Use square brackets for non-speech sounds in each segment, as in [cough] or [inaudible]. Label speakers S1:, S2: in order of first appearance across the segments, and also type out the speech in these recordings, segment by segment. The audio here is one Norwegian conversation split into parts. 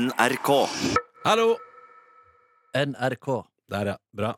S1: NRK.
S2: Hallo!
S3: NRK.
S2: Der, ja. Bra.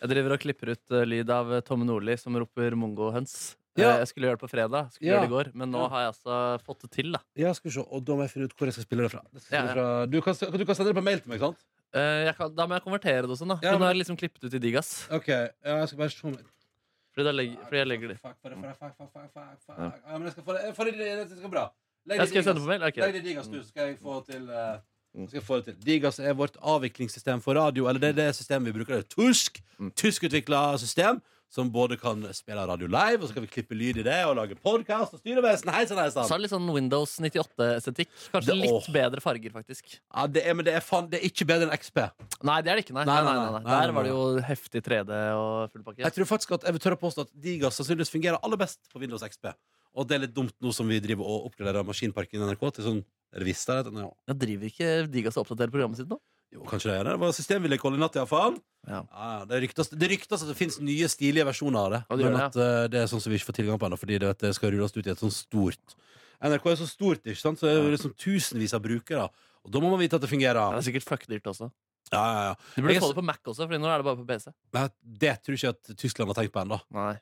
S3: Jeg driver og klipper ut eh, lyd av eh, Tomme Nordli som roper mongohøns.
S2: Ja.
S3: Eh, Jeg skulle gjøre det på fredag, skulle
S2: Ja.
S3: gjøre det i går, men nå
S2: Ja.
S3: har jeg altså fått det til. da
S2: Ja, skal vi se. Og da må jeg finne ut hvor jeg skal spille det fra. Det skal
S3: Ja,
S2: jeg spille fra. Du, kan, du kan sende det på mail til meg, ikke sant?
S3: Eh, jeg kan, Da må jeg konvertere det og sånn, da.
S2: Ja,
S3: så nå
S2: men-
S3: er jeg liksom klippet ut i digg, ass.
S2: Ok, ja, jeg skal bare se om
S3: Fordi, da legger, fordi jeg legger det
S2: Fuck, fuck, fuck, fuck, fuck, fuck, fuck, fuck. Ja, men jeg skal få det, jeg får det, det det skal bli bra. Legg
S3: Jeg skal
S2: digas.
S3: sende på mail? Ok.
S2: Legg det i digas, du, så skal jeg få til eh, så skal jeg få det til. Digas er vårt avviklingssystem for radio. Eller det er det systemet vi bruker. Det er et tysk tyskutvikla system som både kan spille radio live, og så kan vi klippe lyd i det, og lage podkast og styrevesen. Hei sann, hei
S3: Så
S2: sann.
S3: er det litt sånn Windows 98-estetikk. Kanskje
S2: Det-
S3: litt
S2: åh.
S3: bedre farger, faktisk.
S2: Ja, det er, men det er, faen- det er ikke bedre enn XP.
S3: Nei, det er det ikke. Nei,
S2: Nei,
S3: nei, nei,
S2: nei,
S3: nei,
S2: nei,
S3: Der
S2: nei,
S3: var det jo heftig 3D og full pakke.
S2: Jeg tror faktisk at jeg vil tørre å påstå at Digas sannsynligvis fungerer aller best på Windows XP. Og det er litt dumt nå som vi driver og oppgraderer maskinparken i NRK til sånn revister. eller noe.
S3: Jeg driver ikke Digas og oppdaterer programmet sitt nå.
S2: Jo, kanskje det er det. Det var systemvedlikehold i natt, iallfall.
S3: Ja.
S2: Ja, det, ryktes, det ryktes at det finnes nye, stilige versjoner av det.
S3: Ja, det gjør
S2: men
S3: det,
S2: at eh, det er sånn som vi ikke får tilgang på ennå, fordi det, vet, det skal rulles ut i et sånt stort NRK er så stort, ikke sant? så det er jo liksom tusenvis av brukere. Og da må man vite at det
S3: Det
S2: fungerer.
S3: er sikkert fuckdyrt også.
S2: Ja, ja, ja.
S3: Du burde
S2: Jeg-
S3: få det på Mac også, Fordi nå er det bare på PC.
S2: Nei, Det tror jeg ikke at Tyskland har tenkt på ennå.
S3: Nei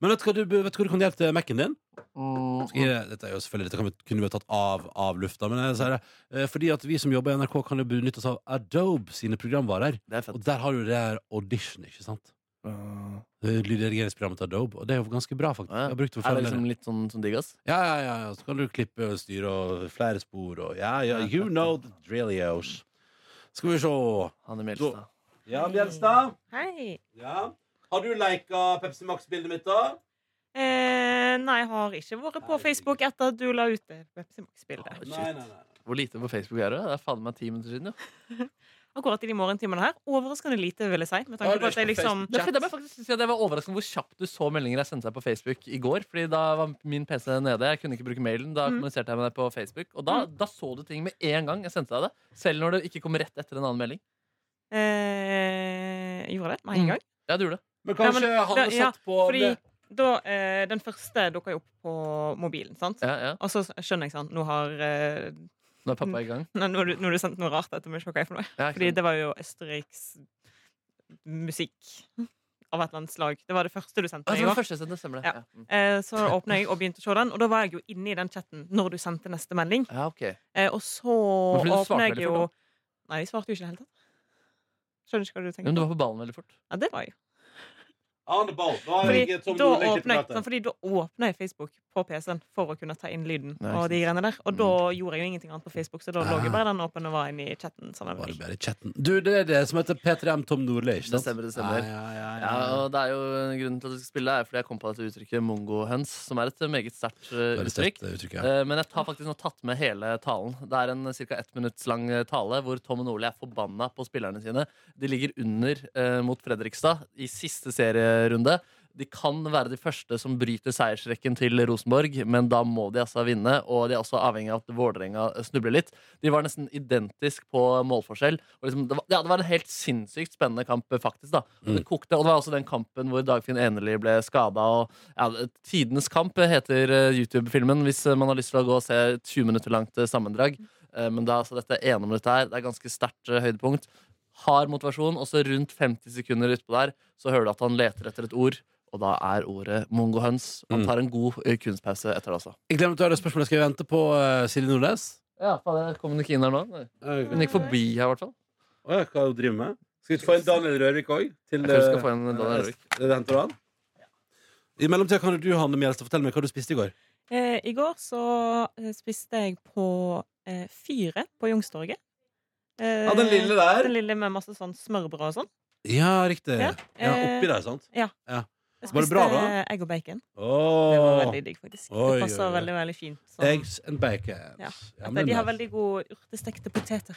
S2: Men vet du hva du, vet du, hva du kan gjøre til Mac-en din? Skal
S3: mm.
S2: jeg, dette er jo selvfølgelig Dette kan vi, kunne vi ha tatt av, av lufta, men jeg sier det eh, fordi at vi som jobber i NRK, kan jo benytte oss av Adobe sine programvarer.
S3: Det er
S2: Og
S3: fett.
S2: der har du det her audition, ikke sant? Eh, Lydredigeringsprogrammet til Adobe. Og det er jo ganske bra, faktisk.
S3: Ja,
S2: Jeg
S3: ja.
S2: har brukt det for
S3: Er det
S2: flere-
S3: liksom litt sånn som Digas?
S2: ja, ja, ja, ja. Så kan du klippe og styre og flere spor og Ja, ja, you know the drillios. Skal vi se
S3: Han i Mjelstad.
S2: Ja, Bjelstad.
S4: Hei.
S2: Ja. Har du lika Pepsi Max-bildet mitt, da?
S4: Eh, nei, jeg har ikke vært på
S2: Herregud.
S4: Facebook etter at du la ut det Pepsi Max-bildet.
S2: Nei, nei, nei.
S3: Hvor lite på Facebook er du? Det er faen meg ti minutter siden, jo.
S4: Akkurat i de morgentimene her. Overraskende lite, vil jeg si. Med
S2: Har
S4: tanke
S2: du
S4: på at jeg
S2: ikke på
S4: liksom
S3: Det, er fordi jeg, faktisk, synes jeg det var overraskende hvor kjapt du så meldinger jeg sendte deg på Facebook i går. Fordi da var min PC nede. Jeg kunne ikke bruke mailen. Da
S4: Mm.
S3: kommuniserte jeg med deg på Facebook. Og da, da så du ting med en gang jeg sendte deg det. Selv når det ikke kom rett etter en annen melding.
S4: eh, Gjorde det med
S3: Mm.
S4: en gang.
S3: Ja, du gjorde det.
S2: Men kanskje
S4: Ja, men-
S2: han er
S4: det- ja,
S2: satt på
S4: Fordi da, eh, den første dukka jo opp på mobilen, sant?
S3: Ja, ja.
S4: Og så skjønner jeg sånn Nå har eh,
S3: Nå er pappa i gang.
S4: Nå nå har du, nå har du sendt noe rart etter meg. Hva er for noe?
S3: Mm. Ja, ikke
S4: Fordi
S3: sant?
S4: det var jo Østerriks musikk av et eller annet slag. Det var det første du sendte
S2: Altså,
S3: Ah,
S4: meg.
S3: det
S4: i
S3: var
S4: går.
S3: første sendte, stemmer det.
S4: Ja.
S3: Ja. Mm.
S4: Eh, Så åpna jeg og begynte å se den, og da var jeg jo inne i den chatten når du sendte neste melding.
S3: ja, ok.
S4: Eh, Og så
S3: fordi du svarte
S4: åpna
S3: veldig
S4: jeg jo
S3: fort,
S4: Nei, jeg svarte jo ikke i det hele tatt. Skjønner ikke hva
S3: Ja,
S4: du
S3: Men
S4: tenker
S3: du
S4: på.
S3: var på ballen veldig fort.
S4: Ja, det var jeg.
S2: Han er ball. Da har
S4: Fordi
S2: jeg Tom
S4: da
S2: Nordli klippet
S4: åpna jeg,
S2: dette.
S4: sånn, fordi da åpna jeg Facebook på PC-en for å kunne ta inn lyden
S3: Nei,
S4: og
S3: ikke
S4: de
S3: sant. Mm. Ah.
S4: greiene der. Og da gjorde jeg jo ingenting annet på Facebook, så da lå jeg bare den åpen og var inne i chatten. sånn
S2: Var
S4: sammen med
S2: det
S4: deg.
S2: bare i chatten? Du, det er det som heter P3M Tom Nordli, ikke sant?
S3: Det stemmer, det stemmer.
S2: Ja, ja, ja,
S3: Ja,
S2: ja.
S3: og det er jo Grunnen til at vi skal spille, er fordi jeg kom på dette uttrykket mongohøns, som er et meget sterkt
S2: Veldig
S3: eh, uttrykk.
S2: sterkt det uttrykket.
S3: Eh, Men jeg har faktisk nå tatt med hele talen. Det er en ca. ett minutts lang eh, tale hvor Tom og Nordli er forbanna på spillerne sine. De ligger under eh, mot Fredrikstad i siste serierunde. De kan være de første som bryter seiersrekken til Rosenborg, men da må de altså vinne. Og de er også avhengig av at Vålerenga eh, snubler litt. De var nesten identisk på målforskjell. Og liksom, det, var, ja, det var en helt sinnssykt spennende kamp, eh, faktisk. da Og Det kokte, og det var også den kampen hvor Dagfinn Enerli ble skada. Ja, Tidenes kamp heter eh, YouTube-filmen, hvis eh, man har lyst til å gå og se et 20 minutter langt eh, sammendrag. Eh, Men da, altså, dette ene minuttet her, det er ganske sterkt eh, høydepunkt. Hard motivasjon, og så rundt 50 sekunder utpå der, så hører du at han leter etter et ord. Og da er ordet mongohøns. Han
S2: Mm.
S3: tar en god eh, kunstpause etter det også.
S2: Jeg glemte å høre spørsmålet. Skal vi vente på eh, Silje Nordnes?
S3: Ja, faen, Kom hun ikke inn her nå? Nei. Hun gikk forbi her, i hvert fall.
S2: Å ja, Eh, hva hun driver med? Skal vi ikke få en Daniel Rørvik eh, òg?
S3: Jeg tror vi skal få en Daniel Rørvik.
S2: Henter du han? I mellomtida kan jo du Hanne Mjelstad, fortelle meg hva du spiste i går.
S4: Eh, I går så eh, spiste jeg på eh, Fyret på Youngstorget. Eh,
S2: Ja, den lille der.
S4: Den lille med masse sånn smørbrød og sånn.
S2: Ja, riktig.
S4: Ja,
S2: Ja, Oppi
S4: eh,
S2: der, sant?
S4: Jeg
S2: Var det bra,
S4: spiste,
S2: da?
S4: eh, Egg og bacon. Det var
S2: Åh,
S4: veldig digg, faktisk.
S2: Oi,
S4: det passer
S2: oi, oi.
S4: veldig veldig fint. sånn.
S2: Eggs and bacon.
S4: Ja.
S2: Ja, men
S4: De har
S2: nice.
S4: veldig gode urtestekte poteter.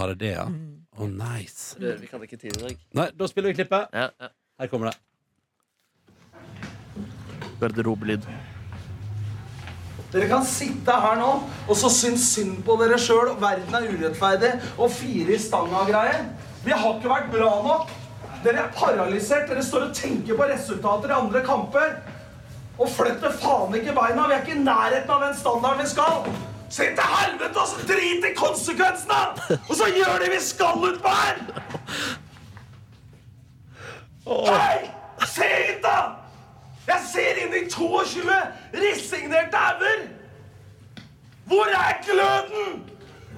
S2: Har det det, ja?
S4: Mm.
S2: Å, nice.
S3: Rørvik hadde ikke tid i dag.
S2: Nei, da spiller vi klippet.
S3: Ja, ja.
S2: Her kommer det.
S3: Garderobelyd.
S5: Dere kan sitte her nå og så synes synd på dere sjøl. Verden er urettferdig. Og fire i stanga-greier. Vi har ikke vært bra nok. Dere er paralysert. Dere står og tenker på resultater i andre kamper. Og flytt til faen ikke beina. Vi er ikke i nærheten av den standarden vi skal. Se til helvete, og så drit i konsekvensene! Og så gjør det vi skal ut på her! Hei! Se hit, da! Jeg ser inn i 22 resignerte hauger! Hvor er gløden?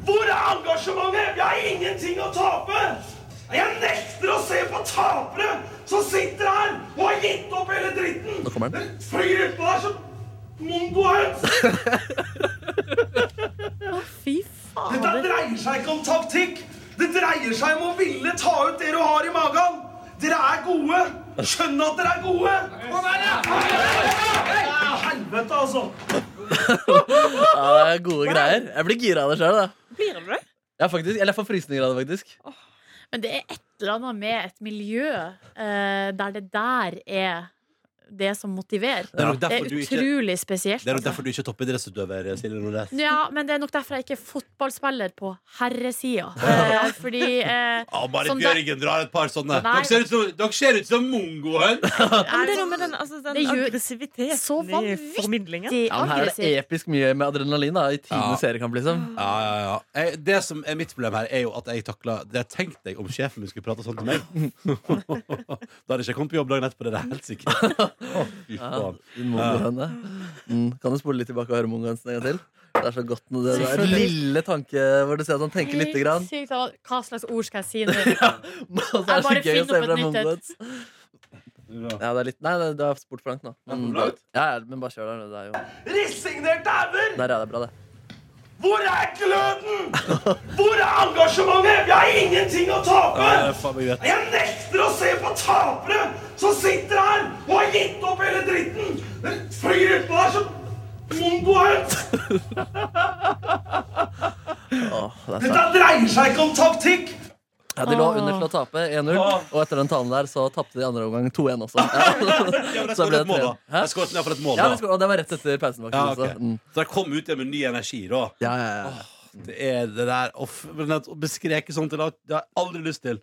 S5: Hvor er engasjementet? Vi har ingenting å tape! Jeg nekter å se på tapere som sitter her og har gitt opp hele dritten!
S3: Nå kommer den.
S5: Dere flyr utpå der som mongohøns!
S4: Fy
S5: Dette
S4: fader.
S5: dreier seg ikke om taktikk. Det dreier seg om å ville ta ut det du har i magen. Dere er gode. Skjønn at dere er gode. Kom her, ja! Helvete, altså.
S3: Ja, det er gode greier. Jeg blir gira av det sjøl.
S4: Blir du det?
S3: Eller jeg får frysninger av det, faktisk.
S1: Men det er et eller annet med et miljø eh, der det der er det som motiverer.
S2: Det er nok
S1: Det
S2: derfor
S1: er
S2: du ikke
S1: utrolig spesielt.
S2: det er nok
S1: altså.
S2: derfor du ikke er toppidrettsutøver. Silje Nordnes.
S1: Ja, men det er nok derfor jeg ikke er fotballspiller på
S2: [laughs]
S1: herresida. Eh, fordi eh,
S2: Ja, Marit
S1: Sånn der-
S2: Bjørgen drar et par sånne.
S1: Nei.
S2: Dere ser ut som, dere ser ut som mongoer.
S4: Men det
S1: jeg
S4: er
S1: er
S4: noe med den, altså, den
S1: Det gjør-
S4: aggressiviteten
S1: Så
S4: i
S1: vanvittig.
S4: formidlingen.
S1: veldig
S3: Ja, men her er det
S1: aggressiv.
S3: episk mye med adrenalin da, i
S2: Ja.
S3: tidenes seriekamp, liksom.
S2: Ja, ja, ja. Jeg, det som er mitt problem her, er jo at jeg takla Det jeg tenkte jeg om sjefen min skulle prate sånn til meg. [laughs] da hadde jeg ikke kommet på jobb dagen etterpå. Det er jeg helt sikkert. Å, fy
S3: Ja,
S2: faen.
S3: din mongohøne. Mm, kan du spole litt tilbake og høre mongohønsen en gang til? Det er så godt når det er en
S1: Selvfølgelig.
S3: lille tanke hvor du ser at han tenker lite grann.
S1: Sykt, og Hva slags ord skal jeg si
S2: [laughs]
S1: nå?
S3: [laughs] Og så er
S1: Jeg bare
S3: det så gøy å
S1: finner
S3: se
S1: opp
S3: fra
S1: et nytt
S3: mongohøns. Ja, det er litt Nei, det- du har spurt for langt nå. Men,
S5: for langt?
S3: ja, ja, men bare kjør der. Det er jo
S5: Resignerte hauger!
S3: Der er det bra, det.
S5: Hvor er gløden? Hvor er engasjementet? Vi har ingenting å tape!
S2: Ja, det er faen meg greit.
S5: Jeg nekter å se på tapere som sitter her og har gitt opp hele dritten! Dere flyr utpå der som mongohøns!
S3: Åh, det er
S5: Dette
S3: sant.
S5: dreier seg ikke om taktikk.
S3: Ja, de lå under til å tape 1-0, og etter den talen der så tapte de i andre omgang 2-1
S2: [laughs]
S3: også.
S2: Ja,
S3: Ja.
S2: men jeg
S3: Så
S2: skåret
S3: ble
S2: et mål, da.
S3: Hæ?
S2: Jeg skåret ned for et mål,
S3: Ja,
S2: da.
S3: det, skulle, og det var rett etter pausen. faktisk,
S2: Ja, ok.
S3: også. Mm.
S2: Så jeg kom ut igjen med ny energi, da.
S3: Ja, ja, ja.
S2: Det er det der Å f- men at- å bli skreket sånn til, det har jeg aldri lyst [laughs] til.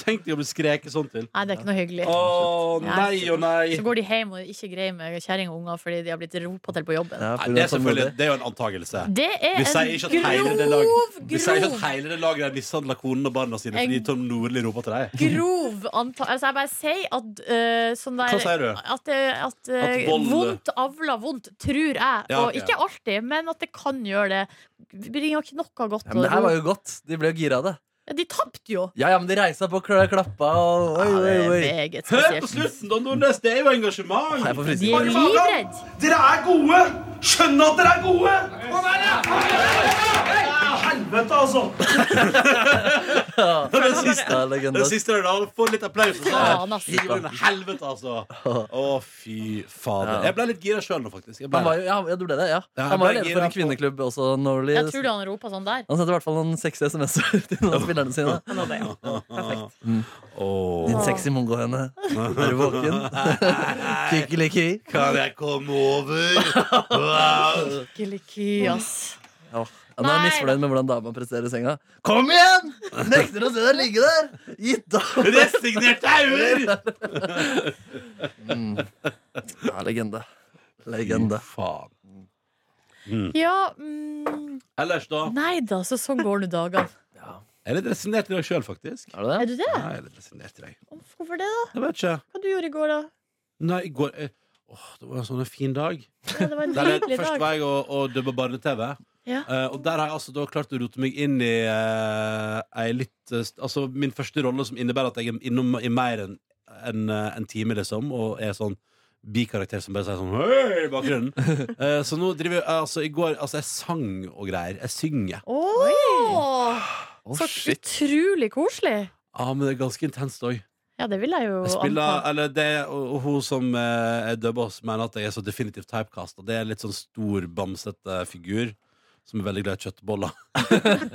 S2: Tenk deg å bli skreket sånn til.
S1: Nei, det er ikke noe hyggelig.
S2: Å nei og nei.
S1: Så går de hjem og ikke greier med kjerring og unger fordi de har blitt ropa til på jobben.
S3: Ja, for
S2: Nei, det er
S3: sånn
S2: selvfølgelig
S3: modig.
S2: Det er jo en antakelse.
S1: Det er
S2: Vi sier ikke at hele
S1: en
S2: det lag
S1: grov,
S2: Vi sier ikke at
S1: grov
S2: hele det laget der mishandler konen og barna sine
S1: Jeg-
S2: fordi Tom Nordli roper til deg.
S1: grov anta... Altså, jeg bare sier at eh, sånn der
S2: Hva sier du?
S1: At, eh, at, eh,
S2: At vold-
S1: vondt avler vondt, tror jeg.
S2: Ja, ok.
S1: Og ikke alltid, men at det kan gjøre det. Det Bringer ikke noe godt.
S3: Ja, men det her var jo godt. De ble jo gira av det.
S1: ja, de tapte jo!
S3: Ja, ja, men de reisa på og kla- klappa og oi,
S1: Ja,
S3: oi,
S1: det er
S3: oi.
S1: meget
S2: Hør på
S1: spesielt.
S2: slutten, da, Nordnes! Det er jo engasjement!
S3: Jeg får
S1: De
S3: frysninger.
S1: er livredde.
S5: Dere er gode. Skjønn at dere er gode. Kom her, ja! Helvete, altså.
S2: [laughs] Det er
S3: Den siste er legende.
S2: Den siste der, da. Få litt applaus. og så-
S1: Faen, ass.
S2: Himmelen, helvete, altså. Å, fy fader.
S3: Ja.
S2: Jeg ble litt gira sjøl nå, faktisk. Jeg ble
S3: Han var jo, ja, ja, du ble det, ja.
S2: Ja,
S3: Han var
S2: jeg
S3: jo
S2: ble
S3: leder for en
S2: gira
S3: kvinneklubb også, Norley.
S1: Jeg tror du han ropa sånn der.
S3: Han sendte i hvert fall noen sexy SMS-er [laughs] til noen av spillerne sine.
S4: Han hadde det, ja. Perfekt.
S2: Åh.
S3: Din sexy mongohøne. Er du våken? Kykeliki.
S2: Kan jeg komme over? Wow.
S1: Skikkelig ass.
S3: Ja. Nå er jeg
S1: Nei.
S3: misfornøyd med hvordan dama presterer i senga. Kom igjen! Nekter å se deg ligge der! Gitt opp!
S2: Resignerte hauger!
S3: Ja, legende.
S2: Mm.
S3: Legende.
S2: Faen.
S1: Ja, mm,
S2: Ellers, da?
S1: nei da, så sånn går nå dagene.
S2: Jeg er litt resignert i dag sjøl, faktisk.
S3: Er du det?
S1: Er du det?
S2: Nei, jeg er litt resignert i dag.
S1: Hvorfor det, da?
S2: Jeg vet ikke.
S1: Hva du gjorde i går, da?
S2: Nei, i går eh, Åh, det var en sånn fin [laughs] dag.
S1: Ja, det var en
S2: Der,
S1: nydelig
S2: først
S1: dag.
S2: var jeg og, og dubba barne-TV.
S1: Ja.
S2: Eh, og der har jeg altså da klart å rote meg inn i eh, ei litt eh, st- Altså min første rolle som innebærer at jeg er innom i mer enn enn, eh, en time, liksom, og er sånn bikarakter som bare sier sånn Hei! i [laughs] bakgrunnen. Eh, så nå driver jeg Altså, i går Altså, jeg sang og greier. Jeg synger.
S1: Åh,
S3: Å,
S1: så
S3: shit.
S1: utrolig koselig.
S2: Ja, men det er ganske intenst òg.
S1: Ja, det vil jeg jo
S2: Jeg spiller,
S1: anta.
S2: eller det, og, og hun som eh, er dubba oss, mener at jeg er så definitivt typecasta. Det er litt sånn stor, bamsete figur som er veldig glad i kjøttboller.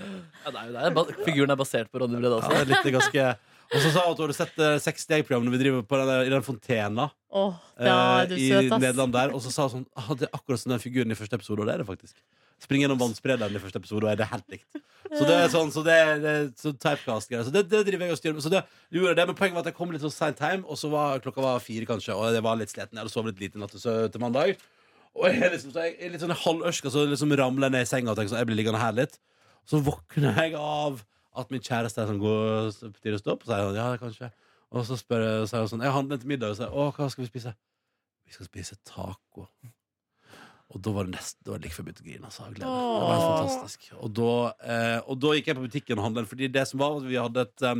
S2: [laughs]
S3: Ja, det er jo det. Ba- Figuren er basert på Ronny
S2: Ja,
S3: Brede også.
S2: det er litt ganske... Og så sa hun at hun hadde sett eh, Seks steg-programmet vi driver på den, der- i den fontena
S1: Åh,
S2: eh,
S1: da er du
S2: i
S1: søt, ass.
S2: Nederland der. Og så sa hun sånn ah, Det er akkurat som den figuren i første episode, og det er det faktisk. Springer gjennom vannsprederen i første episode, og er det helt likt. Så det er sånn, så det er, det er sånn typecast-greier. Så det, det driver jeg og styrer med. Så det gjorde jeg det, men poenget var at jeg kom litt sånn seint hjem, og så var klokka var fire, kanskje, og jeg var litt sliten. Jeg hadde sovet litt lite natt til sø- til mandag. Og jeg er liksom så jeg er litt sånn halvørska, så liksom ramler jeg ned i senga og tenker sånn, jeg blir liggende her litt. Så våkner jeg av at min kjæreste er sånn, går til å stå opp, og sier sånn, ja, kanskje. Og så spør jeg, sier hun sånn, jeg handler til middag, og sier, å, hva skal vi spise? Vi skal spise taco. Og da var det nesten, da var det like før jeg begynte å grine, altså, av glede. Det var helt
S1: Åh.
S2: fantastisk. Og da, eh, og da gikk jeg på butikken og handlet, fordi det som var, at vi hadde et... em,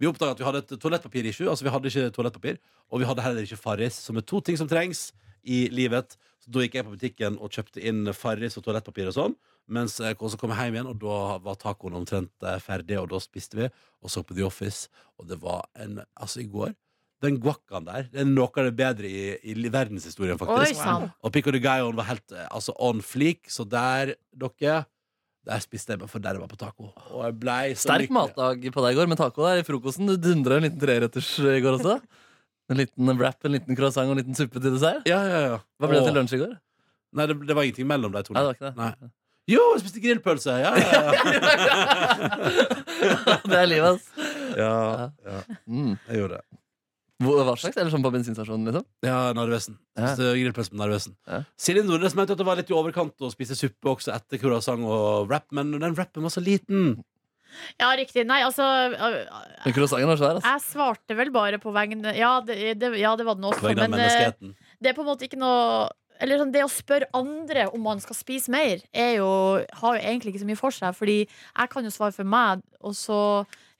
S2: vi oppdaget at vi hadde et toalettpapir-issue. Altså vi hadde ikke toalettpapir Og vi hadde heller ikke Farris, som er to ting som trengs i livet. Så da gikk jeg på butikken og kjøpte inn Farris og toalettpapir og sånn. Mens jeg også kom hjem igjen, og da var tacoen omtrent eh, ferdig, og da spiste vi. Og så på The Office, og det var en Altså, i går den guaccaen der det er noe av det bedre i, i li- verdenshistorien,
S1: Oi
S2: faktisk.
S1: sann.
S2: og Pico de Gallo var helt eh, altså, on fleak, så der, dere Der spiste jeg meg forderva på taco. Og jeg blei så
S3: Sterk
S2: lykkelig.
S3: matdag på deg i går med taco der i frokosten. Du dundra en liten treretters eh, i går også. En liten wrap, en liten croissant og en liten suppe til dessert.
S2: Ja, ja, ja.
S3: Hva ble det
S2: Åh.
S3: til lunsj i går?
S2: Nei, det, det var ingenting mellom de to.
S3: Nei, det var ikke det. [laughs]
S2: Nei. Jo, jeg spiste grillpølse! Ja, ja, ja.
S3: Det er livet, ass.
S2: ja, ja.
S3: Mm.
S2: Jeg gjorde det.
S3: Hvor- Hva slags? Eller sånn på bensinstasjonen, liksom?
S2: Ja, Narvesen. Jeg spiste Grillpølse med Narvesen.
S3: Ja.
S2: Silje Nordnes mente at det var litt i overkant å spise suppe også etter croissant og wrap, men den wrappen var så liten.
S1: Ja, riktig. Nei, altså øh,
S3: Men croissanten var svær, ass.
S1: Jeg svarte vel bare på vegne Ja, det, det, ja, det var den
S2: På
S1: også,
S2: vegne av
S1: men eh,
S2: menneskeheten.
S1: det er på en måte ikke noe eller sånn, Det å spørre andre om man skal spise mer, er jo, har jo egentlig ikke så mye for seg. Fordi jeg kan jo svare for meg, og så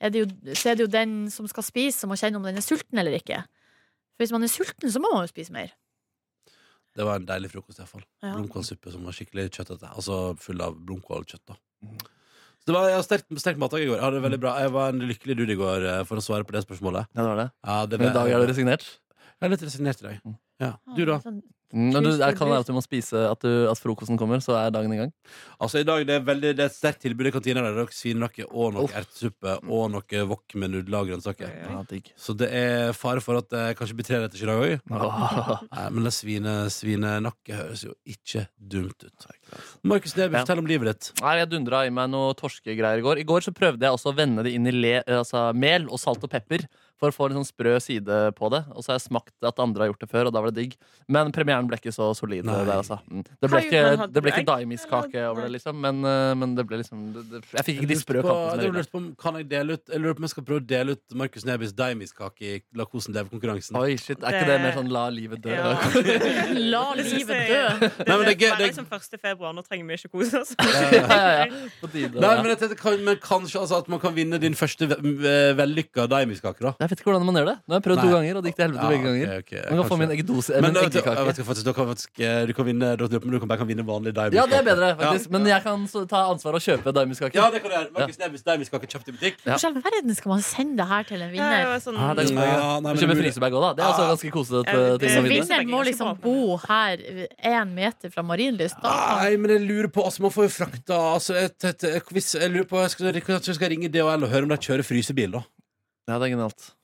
S1: er det jo, så er det jo den som skal spise, som må kjenne om den er sulten eller ikke. For hvis man er sulten, så må man jo spise mer.
S2: Det var en deilig frokost, iallfall.
S1: Ja.
S2: Blomkålsuppe som var skikkelig kjøttete. Altså full av blomkålkjøtt, da. Så det var ja, sterk, sterk matdag i går. Ja, det var veldig bra. Jeg var en lykkelig dude i går, eh, for å svare på det spørsmålet.
S3: Ja, det var det.
S2: Ja, det
S3: Men i dag er du resignert?
S2: Jeg er litt resignert i dag.
S3: Mm.
S2: Ja. Du, da?
S1: Sånn,
S3: Mm, men du,
S1: Tusen
S3: jeg kan være
S1: takk.
S3: at du må spise at, du, at frokosten kommer, så er dagen i gang.
S2: Altså i dag det er veldig, det er et sterkt tilbud i kantina. der. Det er nok svinlakke og noe
S3: Uff.
S2: ertesuppe og noe wok med nudler og grønnsaker.
S3: Ja, digg.
S2: Så det er fare for at det kanskje blir tre retters i dag òg.
S3: Åh.
S2: Men det svine, svinenakke høres jo ikke dumt ut. Markus Neby,
S3: Ja.
S2: fortell om livet ditt.
S3: Nei, Jeg dundra i meg noe torskegreier i går. I går så prøvde jeg også å vende det inn i le, altså mel og salt og pepper for å få en sånn sprø side på det. Og så har jeg smakt at andre har gjort det før, og da var det digg. Men premieren ble ikke så solid.
S2: Nei.
S3: der altså Mm. Det ble
S4: Hva gjorde
S3: ikke,
S4: han?
S3: det ble ikke
S4: Hadde du
S3: daimiskake over det,
S4: Nei.
S3: liksom. Men, eh, men det ble liksom det, det, Jeg fikk ikke de sprø
S2: på,
S3: kampene.
S2: jeg lurte på om kan jeg dele ut Jeg lurer på om jeg skal prøve å dele ut Markus Nebys deimiskake i La kosen leve-konkurransen.
S3: Oi, shit. Er
S4: Det-
S3: ikke det mer sånn la livet dø?
S4: Ja.
S1: La
S4: Det synes
S1: livet dø.
S4: jeg- Det
S2: Nei, men det er
S4: det
S2: gøy,
S4: er
S2: det-
S4: liksom 1. februar, nå trenger vi ikke kose oss.
S3: [laughs] ja, ja, ja. På tide.
S2: Nei, men, jeg tenkte, kan, men kanskje altså, at man kan vinne din første ve- ve- vellykka deimiskake, da.
S3: Jeg vet ikke hvordan man gjør det. Nå har jeg prøvd to
S2: Nei.
S3: ganger, og det gikk til helvete
S2: Ja,
S3: begge ganger.
S2: ok, ok,
S3: Man kan få
S2: kanskje.
S3: min eggedose, eh,
S2: Men
S3: min
S2: da vet du- jeg
S3: eggekake.
S2: vet ikke, faktisk, da kan faktisk, eh, du, kan vinne, da- men du kan bare kan vinne vanlig diamondskake.
S3: Ja, det er bedre, faktisk. Men jeg kan så ta ansvar og kjøpe daimiskake.
S2: Ja, det kan du gjøre. Markus Nebys diamondskake kjøpt i butikk.
S3: Ja.
S1: Hvordan i all verden skal man sende det her til en
S4: Det
S1: vinner?
S4: var sånn,
S3: Ah, det
S2: Ja,
S3: er
S2: nei, men det er
S3: Kjøpe
S2: mulig.
S3: frisebag òg, da. Det er også ganske kosete
S4: Ja, det-
S3: ting å
S4: det-
S3: vinne.
S1: Vinneren må liksom bo her én meter fra Marienlyst. Da kan
S2: Nei, men jeg lurer på altså, Man får jo frakta altså, et, et, et, hvis, Jeg lurer på jeg skal, Kanskje jeg skal ringe DHL og høre om de kjører frysebil, da.
S3: Ja, det er [laughs] genialt.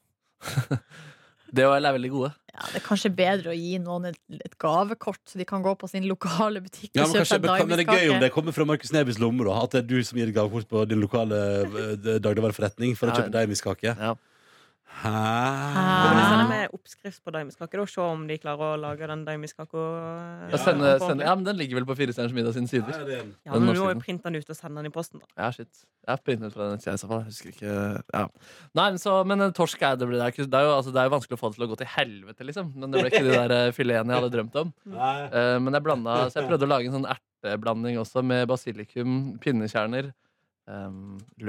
S3: DHL er veldig gode.
S1: Ja, det er kanskje bedre å gi noen et, et gavekort, så de kan gå på sin lokale butikk
S2: Ja,
S1: og
S2: men,
S1: kjøpe
S2: kanskje,
S1: en
S2: men, kan- men det er gøy om
S1: daimiskake.
S2: det kommer fra Markus Nebys lomme, da. At det er du som gir et gavekort på din lokale eh, dagligvareforretning for å
S3: Ja,
S2: kjøpe deimiskake.
S3: Ja.
S4: Det var
S2: Hæ?
S1: Hæ?
S3: sånn?
S4: liksom med oppskrift på daimiskake. da. Se om de klarer å lage den daimiskaka.
S3: Og Sende, sende, ja, men den ligger vel på Firestjerners middag sine sider.
S4: Ja, men vi må jo printe den ut og sende den i posten. da
S3: Ja, shit. Jeg har printet fra den siden i så fall. Jeg husker ikke ja. Nei, men, så, men eh, torsk er det, blir- det, er ikke, det, er jo, altså, det er jo vanskelig å få det til å gå til helvete, liksom. Men det ble ikke de der eh, filetene jeg hadde drømt om.
S2: Nei.
S3: Eh, men jeg blanda, så jeg prøvde å lage en sånn erteblanding også, med basilikum, pinnekjerner, eh,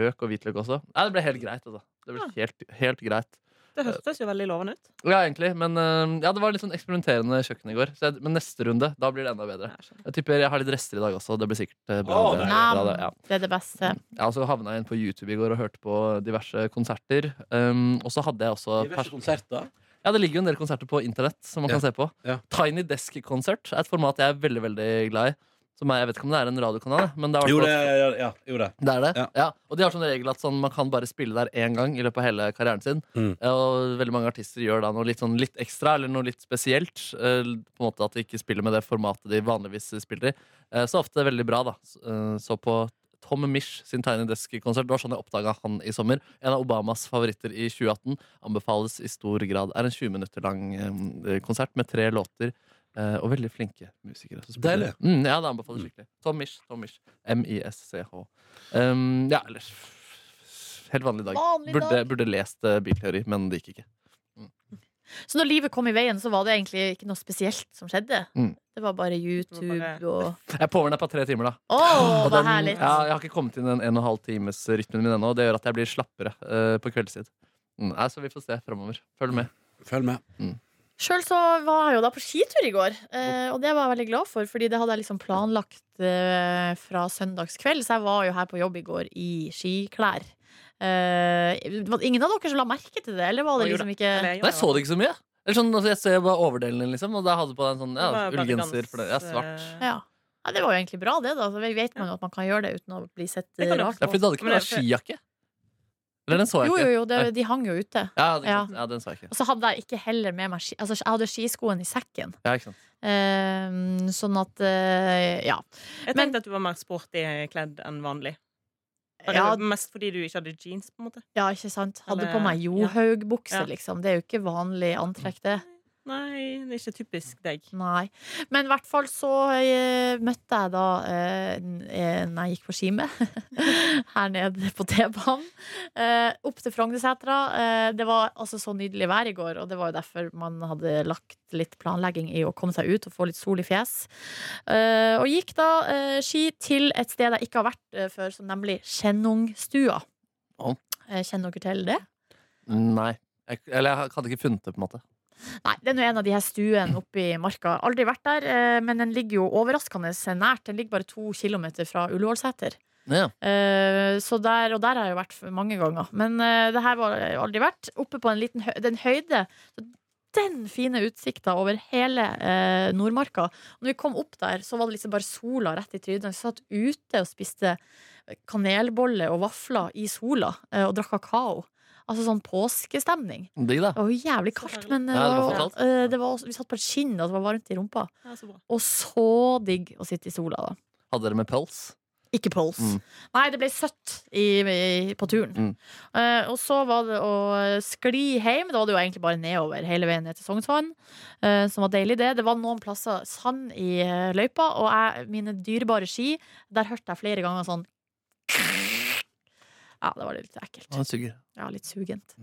S3: løk og hvitløk også. Nei, det ble helt greit, altså. Det ble helt, helt greit.
S4: Det hørtes jo veldig lovende ut.
S3: Ja, egentlig, men eh, ja, det var litt sånn eksperimenterende kjøkken i går. Så jeg, men neste runde, da blir det enda bedre.
S4: Jeg
S1: sånn.
S4: skjønner.
S3: Jeg tipper jeg har litt rester i dag også. Det blir sikkert eh, bra.
S2: Å,
S3: det,
S2: nei.
S3: bra det, ja. Mm.
S1: Nam, det er det beste.
S3: Ja, og så havna jeg inn på YouTube i går og hørte på diverse konserter. Um, og så hadde jeg også
S2: Diverse konserter.
S3: Ja, Det ligger jo en del konserter på internett som man
S2: Ja.
S3: kan se på.
S2: Ja.
S3: Tiny Desk-konsert er et format jeg er veldig veldig glad i. Som er, jeg vet ikke om det er en radiokanal, men det er,
S2: Jo,
S3: hvertfall-
S2: det, ja, ja, jo, det.
S3: det er det.
S2: Ja.
S3: Ja. Og de har sånn regel at sånn, man kan bare spille der én gang i løpet av hele karrieren sin.
S2: Mm.
S3: Ja, Og veldig mange artister gjør da noe litt, sånn, litt ekstra eller noe litt spesielt. eh, På en måte At de ikke spiller med det formatet de vanligvis spiller i. Eh, Så ofte veldig bra, da. S- eh, Så på Tom Mish sin Tiny Desk-konsert. Det var sånn jeg oppdaga han i sommer. En av Obamas favoritter i 2018. Anbefales i stor grad. Er en 20 minutter lang eh, konsert med tre låter. eh, og veldig flinke musikere. som spiller.
S2: Deilig.
S3: Mm, ja, det anbefaler jeg skikkelig. Tom Misch. Tom Misch. M-I-S-C-H. Um, ja, ellers Helt vanlig dag.
S1: Vanlig dag.
S3: Burde, burde lest uh, Bilteori, men det gikk ikke.
S1: Så når livet kom i veien, så var det egentlig ikke noe spesielt som skjedde.
S3: Mm.
S1: Det var bare YouTube
S4: Det
S1: og
S3: Jeg er påvørende på tre timer, da.
S1: Å,
S3: Og
S1: det er
S3: den-
S1: herlig.
S3: Ja, jeg har ikke kommet inn i den en og en halv times rytmen min ennå. og Det gjør at jeg blir slappere eh, på kveldstid. Mm, nei, så vi får se framover. Følg med.
S2: Følg med.
S1: Sjøl så var jeg jo da på skitur i går, eh, og det var jeg veldig glad for, fordi det hadde jeg liksom planlagt eh, fra søndagskveld, så jeg var jo her på jobb i går i skiklær. Eh, var det ingen av dere som la merke til det, eller var det
S4: Å, jo da.
S1: liksom ikke
S4: Eller, ja,
S3: Nei, jeg så det ikke så mye. Eller sånn, altså, jeg ser bare overdelen din, liksom. Og da hadde jeg på deg en sånn ja,
S4: Det var bare eh,
S3: ullgenser. For det er
S4: gans-
S3: svart.
S1: Ja. ja, det var jo egentlig bra, det, da. Så vet man jo at man kan gjøre det uten å bli sett
S4: Det
S1: eh,
S4: kan du.
S1: rart
S3: Ja, for
S1: på.
S3: du hadde ikke på
S4: Men det
S3: deg
S4: er for-
S3: skijakke? Eller den så jeg
S1: Jo, jo,
S3: ikke.
S1: jo, det,
S3: Nei.
S1: de hang jo ute.
S3: Ja, det,
S1: Ja.
S3: ja. ja, den så jeg ikke.
S1: Og så hadde jeg ikke heller med meg ski Altså, jeg hadde skiskoen i sekken.
S3: Ja, ikke sant.
S1: Eh, sånn at eh, Ja.
S4: Jeg
S1: Men-
S4: tenkte at du var mer sporty kledd enn vanlig. Bare
S1: Ja.
S4: Mest fordi du ikke hadde jeans, på en måmåte.
S1: Ja, ikke sant? Hadde
S4: Eller-
S1: på meg Johaug-bukse,
S4: Ja. Mm.
S1: liksom. Det er jo ikke vanlig antrekk, det.
S4: Nei, det er ikke typisk deg.
S1: Nei. Men i hvert fall så eh, møtte jeg da eh, n- eh, Når jeg gikk på ski med, [laughs] her nede på T-banen. Eh, opp til Frognersetra. Eh, det var altså så nydelig vær i går, og det var jo derfor man hadde lagt litt planlegging i å komme seg ut og få litt sol i fjes. Eh, og gikk da eh, ski til et sted jeg ikke har vært eh, før, som nemlig Skjennungstua.
S3: Ja.
S1: Eh, kjenner dere til det?
S3: Nei. Jeg, eller jeg hadde ikke funnet det, på en måte.
S1: Nei, det er nå en av de her stuene oppe i marka. Aldri vært der, eh, men den ligger jo overraskende nært. Den ligger bare to kilometer fra Ullevålseter.
S3: Ja.
S1: Eh, Så der, og der har jeg jo vært mange ganger. Men eh, det her var jeg jo aldri vært. Oppe på en liten hø den høyde. Så Den fine utsikta over hele eh, Nordmarka. Når vi kom opp der, så var det liksom bare sola rett i trynet. Vi satt ute og spiste kanelboller og vafler i sola eh, og drakk kakao. Altså sånn påskestemning.
S3: Digg, da.
S1: Det var jo jævlig kaldt, men
S3: Ja, det var
S1: det var,
S3: kaldt.
S1: eh, det var også, vi satt på et skinn, og det var varmt i rumpa.
S4: Ja, så bra.
S1: Og så digg å sitte i sola, da.
S3: Hadde dere med pels?
S1: Ikke pols.
S3: Mm.
S1: Nei, det ble søtt i, i, på
S3: Mm.
S1: turen. Eh, og så var det å skli hjem. Da var det jo egentlig bare nedover hele veien ned til Sognsvann. eh, som var deilig, det. Det var noen plasser sand i eh, løypa, og jeg, mine dyrebare ski, der hørte jeg flere ganger sånn [laughs] Ja, det var litt ekkelt.
S3: Ja, det suger.
S1: Ja, litt sugent.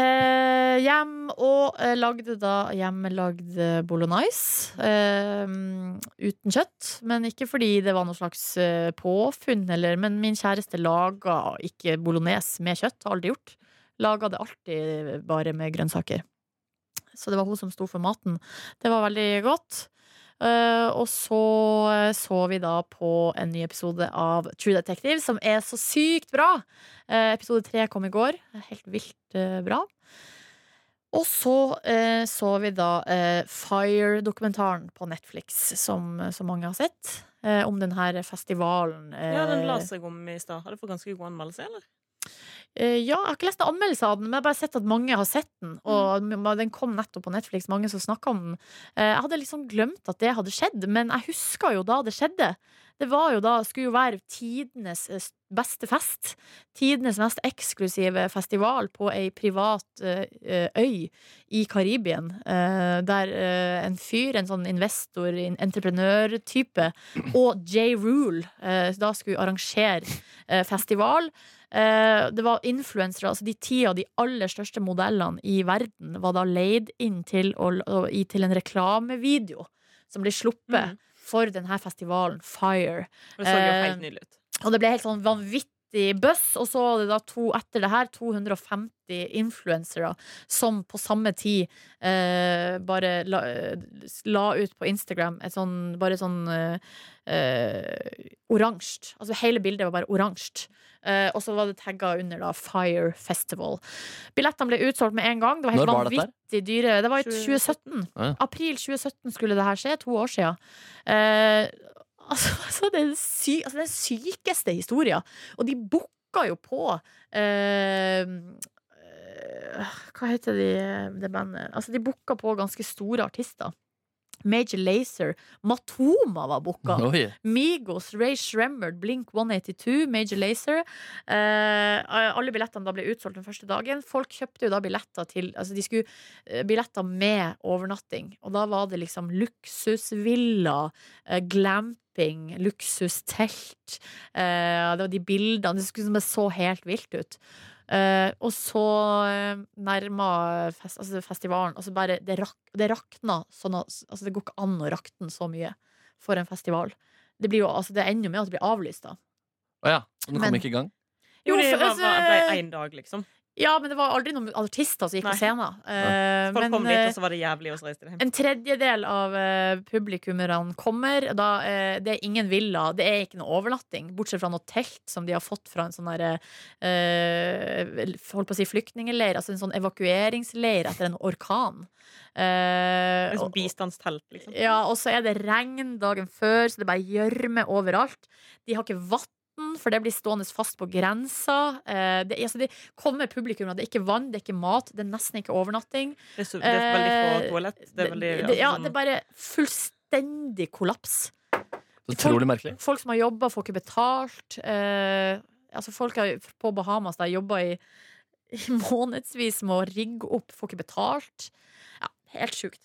S1: Eh, hjem og eh, lagde da hjemmelagd eh, bolognese. Eh, uten kjøtt. Men ikke fordi det var noe slags eh, påfunn, eller Men min kjæreste laga ikke bolognese med kjøtt. Har aldri gjort. Laga det alltid bare med grønnsaker. Så det var hun som sto for maten. Det var veldig godt. Eh, og så eh, så vi da på en ny episode av True Detective, som er så sykt bra! Eh, episode tre kom i går. Helt vilt eh, bra. Og så eh, så vi da eh, Fire-dokumentaren på Netflix, som så mange har sett. Eh, om den her festivalen. eh,
S4: Ja, den la seg om i stad. Hadde fått ganske god anmeldelse, eller?
S1: Eh, ja, jeg har ikke lest noen anmeldelser av den, men jeg har bare sett at mange har sett den. Og m- den kom nettopp på Netflix, mange som snakka om den. Eh, jeg hadde liksom glemt at det hadde skjedd, men jeg huska jo da det skjedde. Det var jo da, skulle jo være tidenes eh, beste fest. Tidenes mest eksklusive festival på ei privat eh, eh, øy i Karibien. eh, der eh, en fyr, en sånn investor, en entreprenørtype, og J. Rule eh, da skulle arrangere eh, festival. Eh, det var influensere, altså de ti av de aller største modellene i verden var da leid inn til, å, å- i, til en reklamevideo som ble sluppet
S4: Mhm.
S1: for denne festivalen Fire.
S4: Og Det så jo
S1: Eh,
S4: helt nydelig ut.
S1: Og det ble helt sånn vanvittig buzz. Og så var det da to, etter det her 250 influensere som på samme tid eh, bare la, la ut på Instagram et sånn Bare sånn eh, eh, oransje. Altså hele bildet var bare oransje. Eh, og så var det tagga under da Fire Festival. Billettene ble utsolgt med en gang. Det var helt
S3: Når var dette her?
S1: vanvittig dyre. Det var i 2017.
S4: 2017.
S3: Ja.
S1: April 2017 skulle det her skje, to år siden. Eh, [laughs] altså, altså, det er den sy altså, den sykeste historien. Og de booka jo på eh, eh, Hva heter de, det bandet? Altså, de booka på ganske store artister. Major Lazer. Matoma var booka.
S3: Oi.
S1: Migos, Ray Shremmerd, Blink 182, Major Lazer. eh, alle billettene da ble utsolgt den første dagen. Folk kjøpte jo da billetter til Altså de skulle eh, billetter med overnatting. Og da var det liksom luksusvilla, eh, glamping, luksustelt. Eh, det var de bildene. Det skulle som det så helt vilt ut. Eh, og så eh, nærma fest, altså festivalen Altså bare Det, rak, det rakna sånn at altså det går ikke an å rakne så mye for en festival. Det, blir jo, altså det ender jo med at det blir avlyst, da.
S3: Å ja, så den kom
S1: Men-
S3: ikke i gang?
S1: Jo,
S4: Jo, det
S1: for-
S4: var,
S1: altså-
S4: var, ble én dag, liksom.
S1: Ja, men det var aldri noen artister som gikk
S4: Nei.
S1: på scenen. Eh,
S4: Folk
S1: men
S4: kom dit,
S1: eh,
S4: og så var det jævlig, og så reiste de hjem.
S1: en tredjedel av eh, publikummerne kommer. Da, eh, det er ingen villa, det er ikke noe overnatting, bortsett fra noe telt som de har fått fra en sånn derre eh, Holdt på å si flyktningleir, altså en sånn evakueringsleir etter en orkan. Eh,
S4: Liksom
S1: og-
S4: bistandstelt, liksom.
S1: ja, og så er det regn dagen før, så det er bare gjørme overalt. De har ikke vann, for det blir stående fast på grensa. Eh, det, altså, det kommer publikum, og det er ikke vann, det er ikke mat, det er nesten ikke overnatting.
S4: Det er, så, det er veldig
S1: Eh,
S4: få toalett. Det er veldig,
S1: det, ja,
S4: altså,
S1: det er bare fullstendig kollaps.
S3: Så Utrolig merkelig.
S1: Folk som har jobba, får ikke betalt. Eh, altså folk har, på Bahamas der jobba i, i månedsvis med å rigge opp, får ikke betalt. Ja, helt sjukt.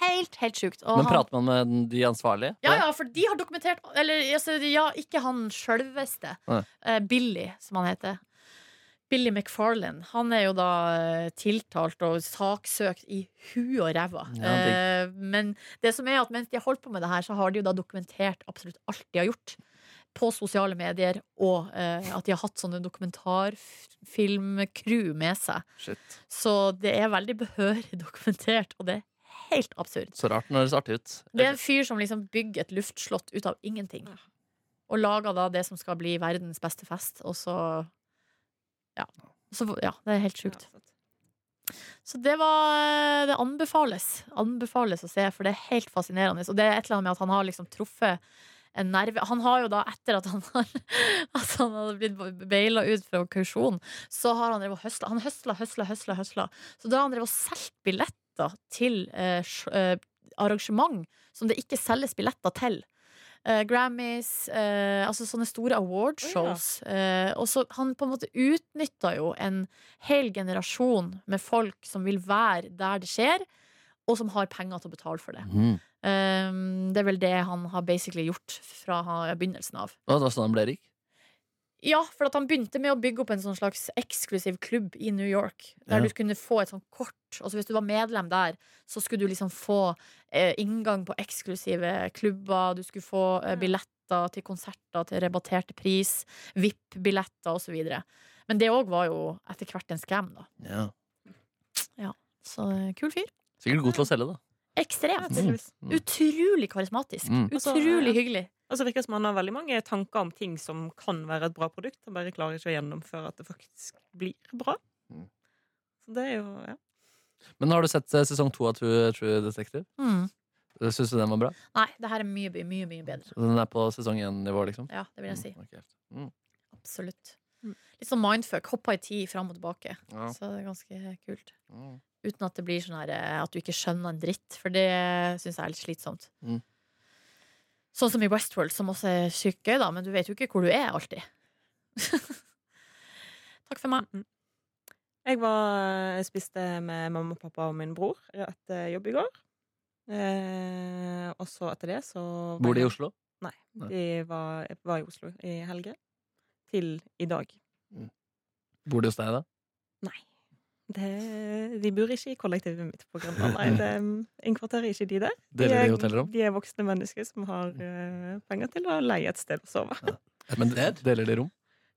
S1: Helt, helt sjukt. Og
S3: Men
S1: han-
S3: prater man med de ansvarlige?
S1: Ja, ja, for de har dokumentert Eller altså, ja, ikke han sjølveste.
S3: Nei.
S1: Eh, Billy, som han heter. Billy McFarlane. Han er jo da eh, tiltalt og saksøkt i hu og ræva.
S3: Ja, digg.
S1: Eh, men det som er at mens de har holdt på med det her, så har de jo da dokumentert absolutt alt de har gjort. På sosiale medier, og eh, at de har hatt sånne dokumentarfilmcrew med seg.
S3: Shit.
S1: Så det er veldig behørig dokumentert, og det er helt absurd.
S3: Så rart når det ser artig ut.
S1: Det er en fyr som liksom bygger et luftslott ut av ingenting. Og lager da det som skal bli verdens beste fest, og så Ja. Så, ja det er helt sjukt.
S4: ja, sant.
S1: Så det var eh, Det anbefales. Anbefales å se, for det er helt fascinerende. Og det er et eller annet med at han har liksom truffet en nerve Han har jo da, etter at han har [laughs] At han hadde blitt baila ut fra kausjon, så har han drevet og høsla. Han høsla, høsla, høsla, høsla. Så da har han drevet og solgt billetter til eh, sj- eh, arrangement som det ikke selges billetter til. Eh, Grammys, eh, altså sånne store awardshows. Eh, og så han på en måte utnytta jo en hel generasjon med folk som vil være der det skjer, og som har penger til å betale for det.
S3: Mhm.
S1: Um, det er vel det han har basically gjort fra ha- begynnelsen av.
S3: Å, Det var sånn han ble rik.
S1: Ja, for at han begynte med å bygge opp en sånn slags eksklusiv klubb i New York. Der
S3: Ja.
S1: du kunne få et sånt kort. Altså Hvis du var medlem der, så skulle du liksom få eh, inngang på eksklusive klubber. Du skulle få eh, billetter til konserter til rabatterte pris. VIP-billetter osv. Men det òg var jo etter hvert en scam, da.
S3: Ja.
S1: Så eh, kul fyr.
S3: Sikkert god til å selge, da.
S4: Ja,
S1: Ekstremt.
S4: tydeligvis.
S3: Mm.
S1: Utrolig karismatisk.
S3: Mm.
S4: Altså,
S1: Utrolig
S4: ja.
S1: hyggelig.
S4: Og så virker Altså, det som han har veldig mange tanker om ting som kan være et bra produkt. Han bare klarer ikke å gjennomføre at det faktisk blir bra.
S3: Mm.
S4: Så det er jo ja.
S3: Men har du sett eh, sesong to av True, True Detective?
S1: Mm.
S3: Syns du den var bra?
S1: Nei, det her er mye, mye, mye, mye bedre.
S3: Den er på sesong én-nivå, liksom?
S1: Ja, det vil jeg si.
S3: Mm, ok.
S1: Absolutt.
S4: Mm.
S1: Litt sånn mindfuck. Hoppa i tid fram og tilbake.
S3: Ja.
S1: Så det er ganske kult.
S3: Mm.
S1: Uten at det blir sånn her eh, at du ikke skjønner en dritt, for det syns jeg er litt slitsomt.
S3: Mm.
S1: Sånn som i Westworld, som også er sykt gøy, da, men du vet jo ikke hvor du er alltid. [laughs] Takk for meg.
S4: Jeg var, jeg spiste med mamma og pappa og min bror etter jobb i går. Eh, og så etter det så var
S3: Bor de i
S4: jeg-
S3: Oslo?
S4: De var, jeg var i Oslo i helge. Til i dag.
S3: Bor de hos deg, da?
S4: Nei. Det, de bor ikke i kollektivet mitt på Grønland.
S3: [laughs]
S4: Nei, det mm, innkvarterer ikke de der. De
S3: Deler de
S4: er,
S3: hotellrom?
S4: de er voksne mennesker som har eh, penger til å leie et sted å sove. [laughs]
S3: Men deler de rom?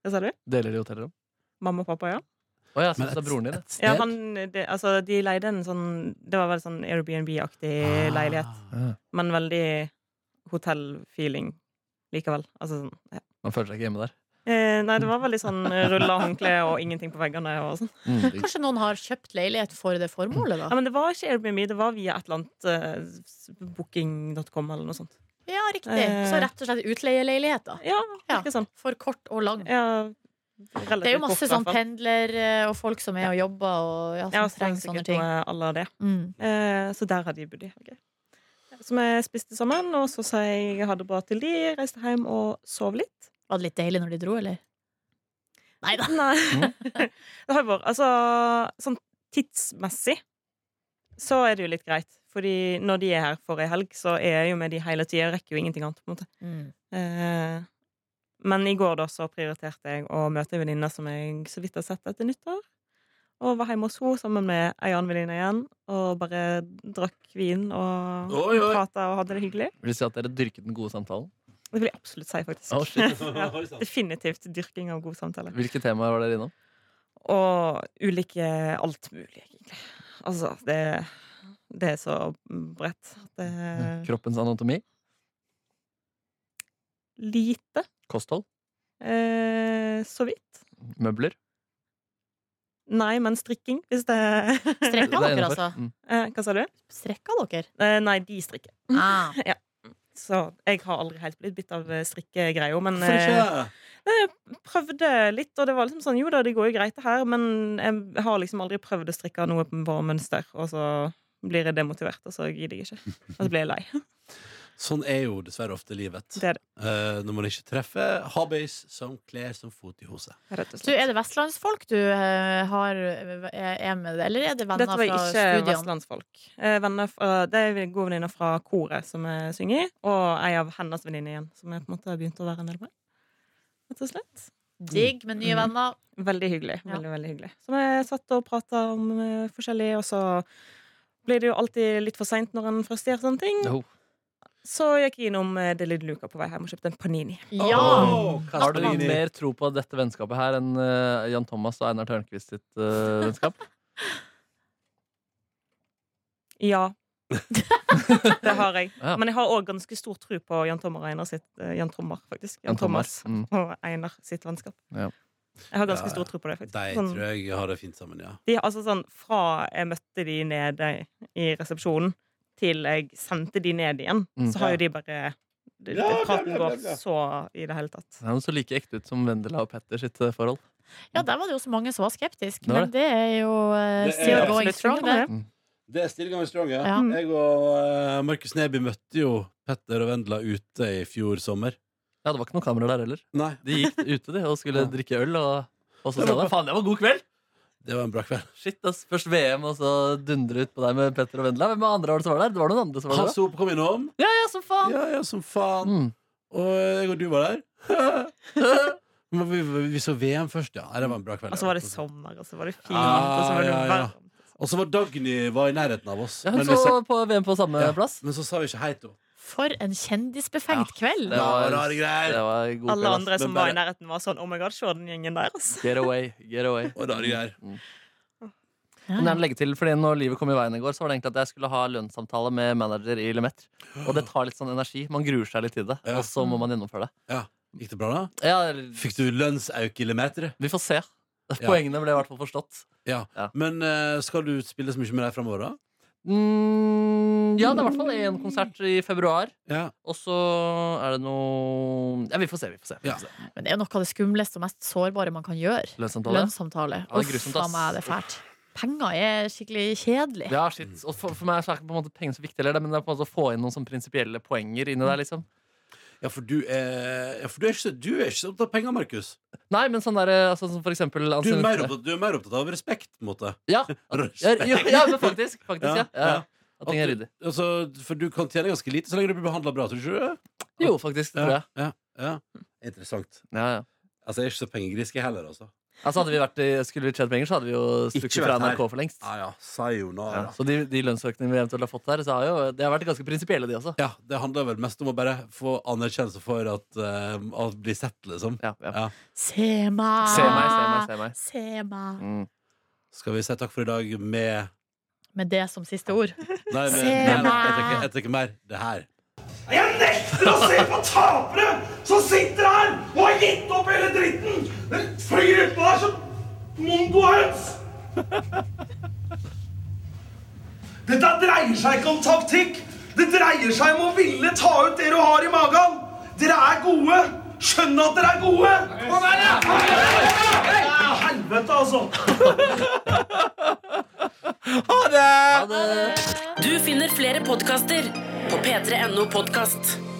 S4: Hva sa du?
S3: Deler de hotellrom?
S4: Mamma og pappa, ja.
S3: Å ja, så
S2: Men
S3: det er
S2: et-
S3: broren din?
S2: et
S4: ja
S2: sted?
S4: han, det, altså, de leide en sånn Det var veldig sånn Airbnb-aktig leilighet.
S3: Ja.
S4: Men veldig hotell-feeling likevel. Altså sånn ja.
S3: Man føler seg ikke hjemme der.
S4: eh, Nei, det var veldig sånn rulla håndkle og ingenting på veggene og sånn.
S3: Mm.
S1: Kanskje noen har kjøpt leilighet for det formålet,
S4: Ja,
S1: da?
S4: men det var ikke Airbnb, det var via et eller annet eh, s- booking.com eller noe sånt.
S1: Ja, riktig.
S4: eh,
S1: Så rett og slett utleieleilighet, da.
S4: Ja,
S1: Ja.
S4: ikke sånn.
S1: For kort og lang.
S4: Ja,
S1: Det er jo masse sånn pendler eh, og folk som er og jobber og ja,
S4: Ja,
S1: som trenger sånne ting.
S4: Alle det.
S1: Mm.
S4: Eh, så der hadde de bodd i helga. Som jeg spiste sammen, og så sa jeg ha det bra til de, reiste hjem og sov litt.
S1: Var det litt deilig når de dro, eller? Nei da.
S4: [laughs] Nei. det har jo vært Altså, sånn tidsmessig så er det jo litt greit. Fordi når de er her for ei helg, så er jeg jo med de hele tida. Jeg rekker jo ingenting annet, på en måte.
S1: Mm.
S4: Eh, men i går da så prioriterte jeg å møte en venninne som jeg så vidt har sett etter nyttår. Og var hjemme hos henne sammen med ei annen venninne igjen. Og bare drakk vin og
S2: Oi, oi.
S4: prata og hadde det hyggelig.
S3: Vil du si at dere dyrket den gode samtalen?
S4: Det vil jeg absolutt si, faktisk.
S3: Å, shit.
S2: Oi, sant.
S4: Definitivt dyrking av god samtale.
S3: Hvilke temaer var dere innom?
S4: Og ulike alt mulig, egentlig. Altså, det, det er så bredt at det
S2: Eh.
S4: er
S3: Kroppens anatomi?
S4: lite.
S3: Kosthold?
S4: Eh, så vidt.
S3: Møbler?
S4: Nei, men strikking, hvis det [laughs] eh,
S3: Det er
S1: Strekka dere,
S3: innenfor.
S1: altså?
S3: Mm.
S4: Hva sa du?
S1: Strekka dere?
S4: Eh, nei, de strikker.
S1: Ah.
S4: Så jeg har aldri helt blitt bitt av eh, strikkegreia, men
S2: Hvorfor
S4: eh,
S2: ikke?
S4: prøvde litt, og det var liksom sånn Jo da, det går jo greit, det her, men jeg har liksom aldri prøvd å strikke noe på mønster, og så blir jeg demotivert, og så gidder jeg ikke. Og så blir jeg lei.
S1: [laughs]
S2: Sånn er jo dessverre ofte livet.
S4: Det er det.
S2: Eh, når man ikke treffer hobbies som kler som fot i hose.
S4: Rett og
S1: Du, er det vestlandsfolk du eh, har, eh, er med, eller er det venner
S4: Dette
S1: fra
S4: var ikke
S1: studiene?
S4: vestlandsfolk. Eh, venner fra, det er gode venninner fra koret som jeg synger i, og ei av hennes venninner igjen, som jeg på en måte har begynt å være en del med. Rett og slett.
S1: Digg med nye
S4: Mm.
S1: venner.
S4: Veldig hyggelig.
S1: Ja.
S4: veldig, veldig hyggelig Så vi satt og prata om eh, forskjellig, og så blir det jo alltid litt for seint når en først gjør sånne ting.
S3: Jo.
S4: Så gikk jeg innom eh, The Little Luca på vei hjem og kjøpte en panini.
S1: Ja!
S2: Åh, kast
S3: Har du
S2: den inn i-
S3: mer tro på dette vennskapet her enn eh, Jan Thomas og Einar Tørnquist sitt
S2: [laughs]
S3: eh, vennskap?
S4: Ja. [laughs] det har jeg.
S3: Ja.
S4: Men jeg har òg ganske stor tro på Jan Tommer og Einar sitt eh, Jan Trommer, faktisk. Jan,
S3: Jan
S4: Thomas.
S3: Thomas, mm.
S4: og Einar sitt vennskap.
S3: Ja.
S4: Jeg har ganske
S2: Ja,
S4: stor tro på det, faktisk.
S2: De
S4: Sånn,
S2: tror jeg har det fint sammen, ja.
S4: de, altså sånn, fra jeg møtte de nede i resepsjonen, til jeg sendte de ned igjen,
S3: Mm.
S4: så har jo de bare de,
S2: Ja, bla,
S4: Praten
S2: bla, bla,
S4: går
S2: bla.
S4: så i det hele tatt.
S3: Han så like ekte ut som Vendela og Petter sitt eh, forhold.
S1: Ja, der var det jo så mange som var skeptiske,
S3: Det var
S1: men det er jo eh,
S2: Det er
S1: still
S2: absolutt
S1: going strong, det.
S2: Det er Still Going Strong, ja.
S1: Ja.
S2: Jeg og eh, Markus Neby møtte jo Petter og Vendela ute i fjor sommer.
S3: Ja, det var ikke noen kamera der heller.
S2: Nei,
S3: De gikk ute de og skulle
S2: Ja.
S3: drikke øl, og, og så
S2: Det
S3: sa
S2: var-
S3: de faen, det var god kveld!
S2: det var en bra kveld.
S3: Shit, ass. Først VM, og så dundre ut på deg med Petter og Vendela. Hvem av andre var det som var der? Det var noen andre som var
S2: Hans
S3: der.
S2: Hop kom innom.
S3: da. Ja, ja, som faen!
S2: Ja, ja, som faen.
S3: Mm.
S2: Og jeg og du var der. [laughs] Men vi, vi så VM først, ja. Nei, Det var en bra kveld.
S4: Og så var det sommer, og så var det fint,
S2: Ah,
S4: og så var det
S2: ja, ja.
S4: varmt.
S2: Og så var Dagny var i nærheten av oss.
S3: Ja,
S2: men,
S3: hun
S2: vi sa,
S3: så på VM på samme
S2: Ja.
S3: plass.
S2: men så sa vi ikke hei til henne.
S1: For en kjendisbefengt kveld!
S3: Det
S2: Det
S3: var,
S2: var rare greier.
S3: det var god
S4: Alle
S3: kveld, ass.
S4: andre som
S2: Men bare-
S4: var i nærheten, var sånn Oh my god, se den gjengen der, altså.
S3: Get away, get away.
S2: Og rare greier.
S3: Men jeg
S1: Ja.
S3: vil legge til, fordi Når livet kom i veien i går, Så var det egentlig at jeg skulle ha lønnssamtale med manager i Lemet. Og det tar litt sånn energi. Man gruer seg litt til det,
S2: Ja.
S3: og så må man gjennomføre det.
S2: Gikk det bra, da?
S3: Ja, eller-
S2: Fikk du lønnsauk i Lemetre?
S3: vi får se. Poengene ble i hvert fall forstått.
S2: Ja.
S3: Ja.
S2: Men eh, skal du spille så mye med deg framover, da?
S3: Mm, ja, det er i hvert fall én konsert i februar.
S2: Ja.
S3: Og så er det noe Ja, vi får se. vi får se, vi
S2: Ja.
S3: får se.
S1: Men det er jo noe av det skumleste og mest sårbare man kan gjøre.
S3: Lønnssamtale.
S1: Lønnssamtale.
S3: Ja, det er
S1: Uff,
S3: grusomt,
S1: faen
S3: ass.
S1: meg, det er fælt. Penger er skikkelig kjedelig.
S3: Ja, shit. Og for, for meg så er ikke på en måte penger så viktig, eller det, men det er på en måte å få inn noen sånn prinsipielle poenger inni der. liksom
S2: Ja, for du er, ja, for du er ikke så- du er ikke så opptatt av penger, Markus.
S3: Nei, men sånn der, altså, som for eksempel
S2: Du er, mer
S3: ansiennitet-
S2: opptatt, du er mer opptatt av respekt, på en måte.
S3: ja, ja,
S2: Respekt.
S3: ja, ja, men faktisk. faktisk ja,
S2: Ja,
S3: ja,
S2: ja.
S3: At ting er ryddig.
S2: Altså, for du kan tjene ganske lite så lenge du blir behandla bra, tror du ikke det?
S3: Jo, faktisk. Det tror jeg. Hm.
S2: Ja, ja. Interessant.
S3: Ja, ja.
S2: Altså, jeg er ikke så pengegriske heller, altså.
S3: Altså hadde vi vært i, Skulle vi tjent penger, så hadde vi jo stukket
S2: Ikke vært
S3: fra
S2: her.
S3: NRK for lengst.
S2: Ja, ja. Sayonara.
S3: Ja, så de, de lønnsøkningene vi eventuelt har fått her, så har jo, det har vært ganske prinsipielle, de også.
S2: Ja, det handler vel mest om å bare få anerkjennelse for at, eh, at bli sett, liksom.
S3: Ja, ja.
S2: Ja.
S1: Se meg!
S3: Se meg, se meg, se meg.
S1: Se meg.
S3: Mm.
S2: Skal vi si takk for i dag med
S1: Med det som siste ord.
S2: Nei, med,
S1: Se
S2: nei, nei, jeg
S1: meg!
S2: trekker- jeg trekker mer. Det her.
S5: Jeg nekter å se på tapere som sitter her og har gitt opp hele dritten! Den flyr utpå der som mongohøns! Dette dreier seg ikke om taktikk. Det dreier seg om å ville ta ut det du har i magen. Dere er gode. Skjønn at dere er gode. Kom her, ja! Helvete, altså.
S2: Ha det!
S6: Du finner flere podkaster på p3.no podkast.